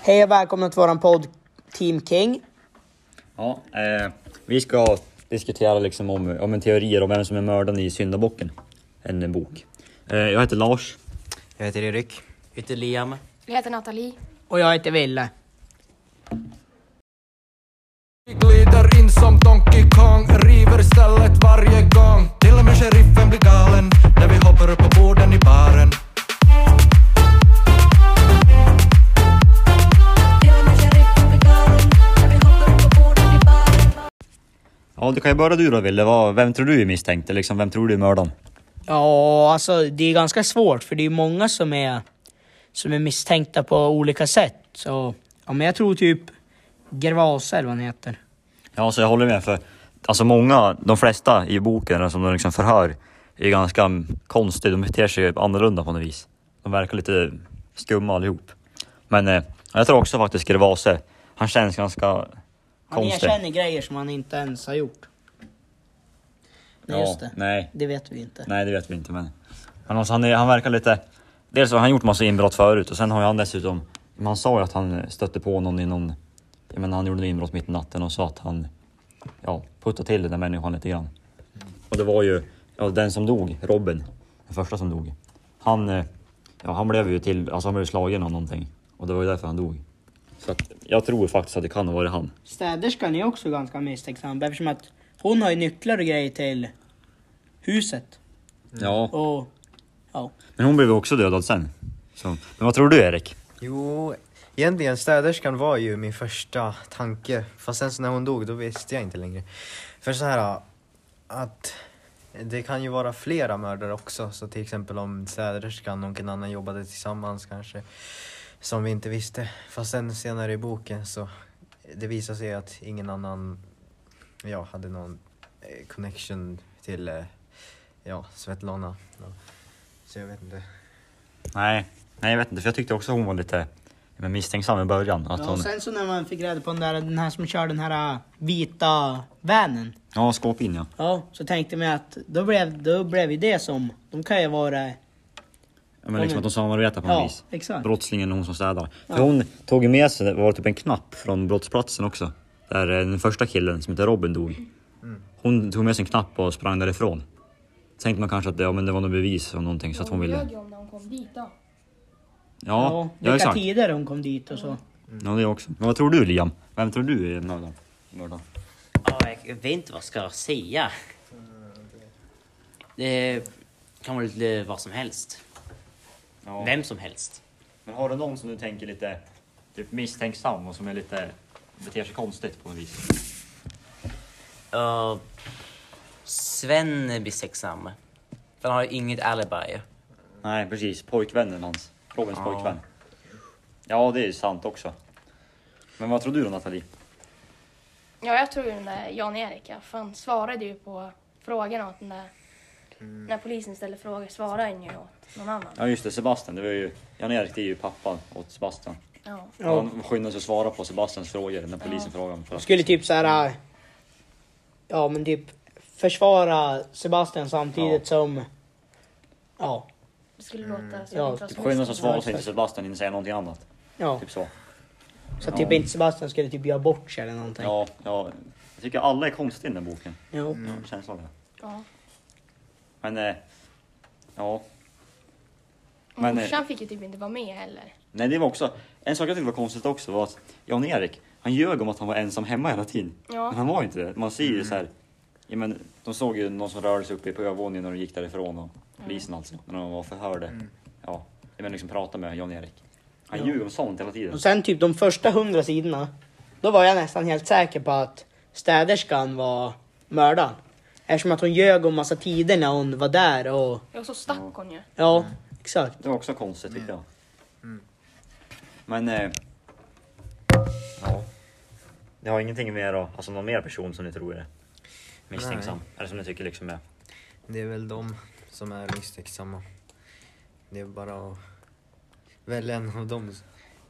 Hej och välkomna till våran podd Team King. Ja, eh, vi ska diskutera liksom om, om en teorier om vem som är mördaren i Syndabocken. En bok. Eh, jag heter Lars. Jag heter Erik. Heter Liam. Jag heter Nathalie. Och jag heter Ville. Vi glider in som Donkey Kong, river stället varje gång. Till och med sheriffen blir galen när vi hoppar upp på borden i baren. Ja, du kan ju börja du då Wille. Vad- Vem tror du är misstänkt? Eller Liksom, vem tror du är mördaren? Ja, alltså det är ganska svårt för det är många som är, som är misstänkta på olika sätt. Så, ja men jag tror typ Gervasa eller vad han heter. Ja, så jag håller med. För alltså många, de flesta i boken eller som de liksom förhör är ganska konstiga. De beter sig annorlunda på något vis. De verkar lite skumma allihop. Men eh, jag tror också faktiskt Gervase. Han känns ganska Han konstig. erkänner grejer som han inte ens har gjort. Nej just det. Nej, Det vet vi inte. Nej, det vet vi inte. Men han, alltså, han, är, han verkar lite... Dels har han gjort massa inbrott förut och sen har ju han dessutom... men Han sa ju att han stötte på någon i någon... Jag menar, han gjorde något inbrott mitt i natten och sa att han ja, puttade till den där människan lite grann. Och det var ju ja, den som dog, Robin, den första som dog. Han, eh, ja, han blev ju till, alltså han blev slagen av någonting och det var ju därför han dog. Så att, jag tror faktiskt att det kan ha varit han. Städerskan är också ganska misstänksam eftersom att hon har ju nycklar och grejer till huset. Ja, Och ja. men hon blev ju också dödad sen. Så, men vad tror du Erik? Jo, egentligen städerskan var ju min första tanke. Fast sen så när hon dog, då visste jag inte längre. För så här att det kan ju vara flera mördare också. Så till exempel om städerskan och någon annan jobbade tillsammans kanske. Som vi inte visste. Fast sen senare i boken så det visar sig att ingen annan ja, hade någon eh, connection till eh, ja, Svetlana. Ja. Så jag vet inte. Nej, nej jag vet inte för jag tyckte också hon var lite men misstänksam i början. Att Ja, hon, och sen så när man fick reda på den, där, den här som kör den här äh, vita vanen. ja skåp in ja. Ja, så tänkte man att då blev, då blev ju det som, de kan ju vara... Ja, Men liksom att de samarbetar på något Ja, vis. exakt. Brottslingen och hon som städar. För hon tog ju med sig, det var typ en knapp från brottsplatsen också. Där eh, den första killen som heter Robin dog. Mm. Hon tog med sig en knapp och sprang därifrån. Tänkte man kanske att ja, men det var något bevis om någonting så att hon ville... ljög ju om när hon kom dit då. Ja, ja vilka exakt. tider hon kom dit och så. Ja det också. Men vad tror du Liam? Vem tror du är mördaren? Mördaren? Ja, jag vet inte vad jag ska säga. Det kan vara lite vad som helst. Ja. Vem som helst. Men har du någon som du tänker lite typ misstänksam och som är lite beter sig konstigt på något vis? Uh, Sven blir sexsam. För han har ju inget alibi. Nej precis, pojkvännen hans. Robins Ja. pojkvän. Ja det är ju sant också. Men vad tror du då Nathalie? Ja, jag tror ju den där Jan-Erik, ja, för han svarade ju på frågan åt den där... När polisen ställde frågor svarade han ju åt någon annan. Mm. Ja just det, Sebastian. Det var ju, Jan-Erik det är ju pappan åt Sebastian. Ja. Han skyndade sig att svara på Sebastians frågor när polisen frågade honom. För att- Skulle typ så här. äh, Ja men typ försvara Sebastian samtidigt som... Ja. Det skulle låta så Ja, att det Typ inte skyndade sig var att så svara så inte Sebastian inte säger någonting annat. ja. Typ så. Så typ inte Sebastian skulle typ göra bort sig eller någonting. Ja, Mm. ja. Jag tycker alla är konstiga i den här boken. Jo. Jag har känslan av det. Ja. Men, eh, ja. Men, eh, Morsan fick ju typ inte vara med heller. Nej, det var också en sak jag tyckte var konstigt också var att Jan-Erik, han ljög om att han var ensam hemma hela tiden. Ja. Men han var ju inte det. Man ser ju så här, ja, men de såg ju någon som rörde sig uppe på övervåningen när de gick därifrån och polisen alltså, när de var förhörde. Ja, jag menar liksom prata med Jan-Erik. Han ljög om sånt hela tiden. Och sen typ de första hundra sidorna, då var jag nästan helt säker på att städerskan var mördaren. Eftersom att hon ljög om massa tider när hon var där och... Ja, Och så stack Mm. hon ju. Ja, exakt. Det var också konstigt tyckte jag. Mm. Men, eh, ja. Ni har ingenting mer då? Alltså någon mer person som ni tror är misstänksam? Eller som ni tycker liksom är... Det är väl de som är misstänksamma. Det är bara att välja en av dem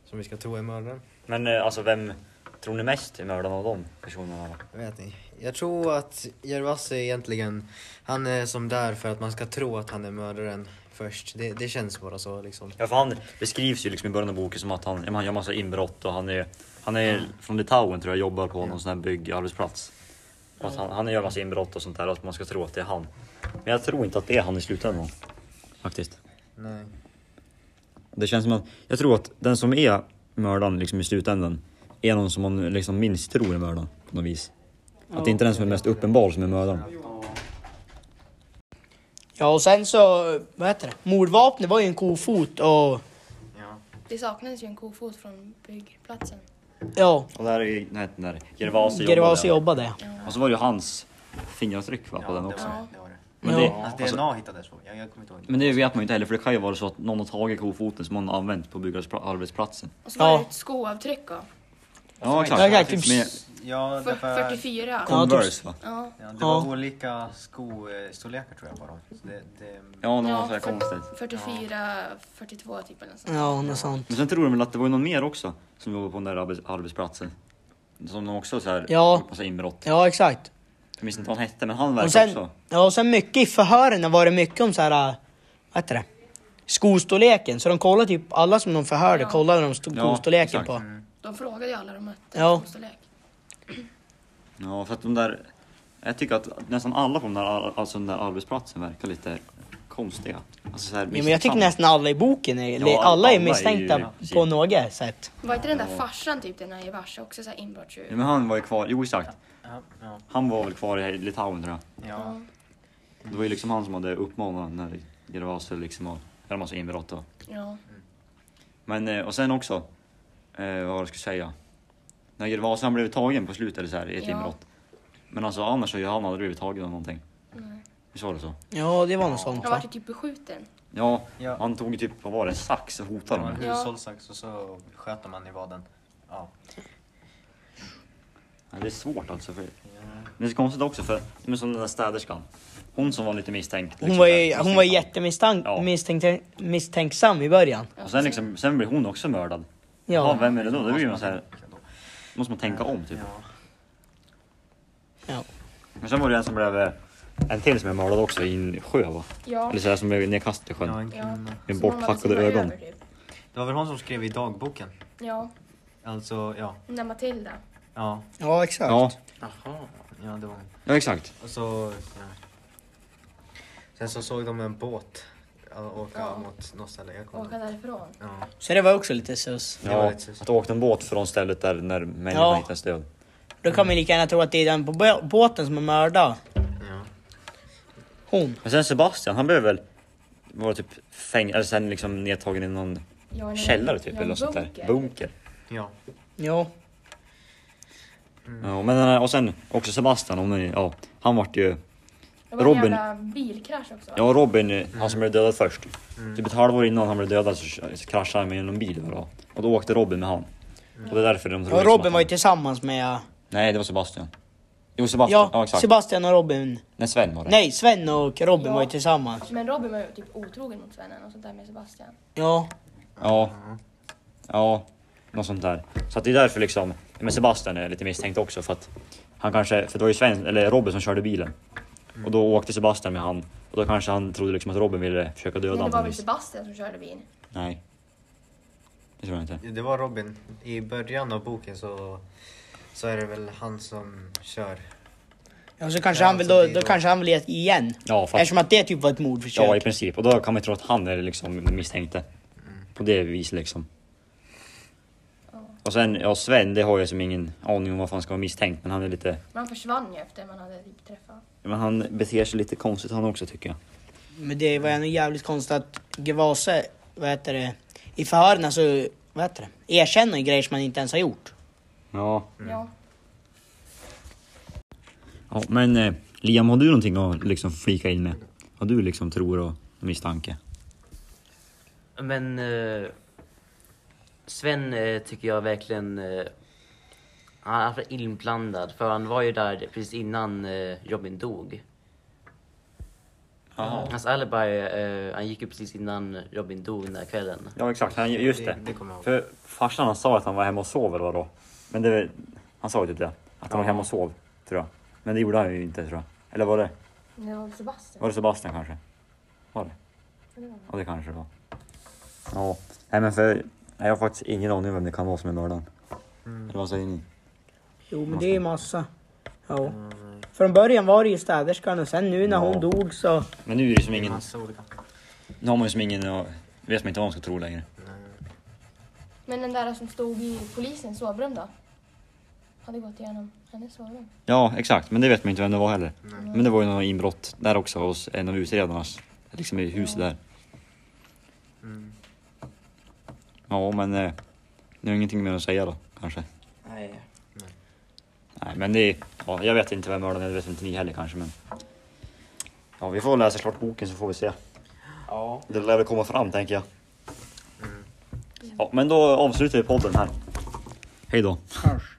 som vi ska tro är mördaren. Men eh, alltså vem tror ni mest är mördaren av de personerna? då? Vet ni? Jag tror att Gervasi egentligen, han är som där för att man ska tro att han är mördaren. först. Det, det känns bara så liksom. Ja, för han beskrivs ju liksom i början av boken som att han, ja, men han gör massa inbrott och han är, han är från Litauen tror jag, jobbar på någon sån här byggarbetsplats. Och att han, han gör massa inbrott och sånt där och att man ska tro att det är han. Men jag tror inte att det är han i slutändan. Faktiskt. Nej. Det känns som att, jag tror att den som är mördaren liksom i slutändan är någon som man liksom minst tror är mördaren på något vis. Att det inte är den som är mest uppenbar som är mördaren. Ja och sen så, vad heter det? Mordvapnet var ju en kofot och Ja. Det saknades ju en kofot från byggplatsen. ja, Och där är nej, den där Gervasi Gervasi jobbade. jobbade. Och så var det ju hans fingeravtryck va, på den också. Ja. Det var det. Men Ja. det, Alltså alltså, DNA hittades på, jag, jag kommer inte ihåg. Men det vet man ju inte heller för det kan ju vara så att någon har tagit kofoten som någon har använt på byggarbetsplatsen. Och så var Ja. det ett skoavtryck då. Ja Ja, exakt, typ Med s- Ja, Fyr- därför, 44. Ja. typ Converse va? Ja. ja, det Ja. var olika skostorlekar tror jag på dem. Så det, det, Ja, någon Ja, var så här för- konstigt. Mm. 44, 42 typ eller något sånt. Ja, något sånt. Men sen tror de väl att det var ju någon mer också som jobbade på den där arbets- arbetsplatsen. Som de också så här Ja. gjort massa inbrott. Ja, exakt. Jag minns inte vad han hette men han verkar Och sen, också. ja, och sen mycket i förhören var det mycket om så här, vad heter det? Skostorleken. Så de kollade typ, alla som de förhörde Ja. kollade de sto- Ja, skostorleken exakt. Mm. på. De frågade ju alla de mötte. Ja. Storlek. Ja för att de där. Jag tycker att nästan alla på den där, ar- alltså den där arbetsplatsen verkar lite konstiga. Alltså så här Ja, men jag tycker misstänksamma. nästan alla i boken är, eller Ja, alla alla är är ju- misstänkta precis. på något sätt. Var inte den där farsan typ den här i Varsa också såhär inbrottstjuv? Ja, men han var ju kvar, jo exakt. ja, ja, Han var väl kvar i Litauen tror jag. ja. Det var ju liksom han som hade uppmanat när Gervasio liksom att göra massa inbrott och. Ja. Men eh, och sen också, eh, vad var det jag skulle säga? När Gervasio han blev tagen på slutet så här, i ett Ja. inbrott. Men alltså annars så har ju han aldrig blivit tagen av någonting. Visst var det så? Ja, det var något sånt Han vart va? ju typ beskjuten. Ja, Ja. han tog ju typ, vad var det, en sax och Det hotade var dem. en Ja. hushållssax och så sköt man i vaden. Ja. Ja, det är svårt alltså. För... Men det är konstigt också för, men som den där städerskan. Hon som var lite misstänkt. Hon liksom var, så här, ju- hon var misstänksam. Ja. jättemisstänksam misstänksam i början. Och sen, liksom, sen blir hon också mördad. Ja. Ja. vem är det då? Då blir man så här, måste man tänka om typ. Ja. Ja. Men sen var det en som blev, eh, en till som är mördad också i en sjö va? Ja. Eller sådär som blev nedkastad i sjön. Ja, en Ja. kvinna. Med Så hon var väl borthackade simmar ögon. över, typ. Det var väl hon som skrev i dagboken? Ja. Alltså, ja. Den där Matilda. Ja, Ja, exakt. Ja, Jaha. ja det var hon. ja exakt. Och så, ja. Sen så såg de en båt ja, åka Ja. mot något ställe. Jag kommer Åka inte därifrån. ja. Så det var också lite sus. Det var Ja, lite sus. att åka en båt från stället där när människan Ja. hittades död. Då kan man lika gärna tro att det är den på bå- båten som är mördad. Ja. Hon. Men sen Sebastian, han blev väl vara typ fäng eller sen liksom nedtagen i någon Ja, en- källare typ ja, eller en något sånt där. bunker. Bunker. ja. Ja. Ja, men, den här- och sen också Sebastian, om ni, ja, han vart ju... Det var en Robin. jävla bilkrasch också. Ja, Robin, eh, han som blev dödad först. Typ ett halvår innan han blev dödad så, så kraschade han med en bil. Då, och då åkte Robin med han. Och det är därför de tror Och liksom Robin att var ju han, tillsammans med... Nej, det var Sebastian. Jo, Sebastian. Ja, Ja, exakt. Sebastian och Robin. Nej, Sven var det. Nej, Sven och Robin Ja. var ju tillsammans. Men Robin var ju typ otrogen mot Svennen och sånt där med Sebastian. Ja. Ja. Ja, något sånt där. Så att det är därför liksom, men Sebastian är lite misstänkt också för att han kanske, för det var ju Sven, eller Robin som körde bilen. Och då åkte Sebastian med han och då kanske han trodde liksom att Robin ville försöka döda Men det honom. på var något väl vis. Sebastian som körde bilen. Nej. Det tror jag inte. Det var Robin. I början av boken så, så är det väl han som kör. Ja, så kanske Ja, han vill alltså, då, det är då då- kanske han vill ge igen. Ja, fast, Eftersom att det typ var ett mordförsök. ja i princip. Och då kan man ju tro att han är liksom misstänkte. På det viset liksom. Och sen, ja Sven, det har jag som ingen aning om varför han ska vara misstänkt. Men han är lite, Men han försvann ju efter man hade typ träffat. men han beter sig lite konstigt han också tycker jag. Men det var ändå jävligt konstigt att Gevase, vad heter det, i förhören så, vad heter det, erkänner grejer som man inte ens har gjort. Ja, Ja. Ja, men eh, Liam, har du någonting att liksom flika in med? Vad du liksom tror och misstanke? Men eh, Sven eh, tycker jag verkligen... Eh, han är för inblandad, för han var ju där precis innan eh, Robin dog. Hans alibi, eh, han gick ju precis innan Robin dog den här kvällen. Ja, exakt. Han, just Det, det. det kommer jag ihåg. För farsan han sa att han var hemma och sov eller vadå? Men det, han sa ju typ det. Att han var hemma och sov, tror jag. Men det gjorde han ju inte tror jag. Eller var det? Men Det var Sebastian. Var det Sebastian kanske? Var det? Ja, det kanske det var. Ja, nej men för nej, jag har faktiskt ingen aning om vem det kan vara som är mördaren. Eller vad säger ni? Jo men det är massa. Ja. Från början var det ju städerskan och sen nu när hon Ja. dog så... Men nu är det som ingen, Massa olika. nu har man ju som ingen, ja, vet man inte vad man ska tro längre. Men den där som stod i polisens sovrum då? Hade gått igenom hennes sovrum. Ja, exakt, men det vet man inte vem det var heller. Men det var ju något inbrott där också hos en av utredarnas, liksom i huset där. Mm. Ja, men eh, det är ingenting mer att säga då, kanske. Nej. Nej, men det är, ja, jag vet inte vem mördaren är, det vet inte ni heller kanske, men... Ja, vi får läsa klart boken så får vi se. Ja. Mm. Det lär väl komma fram, tänker jag. Ja, men då avslutar vi podden här. Hej då. Kanske.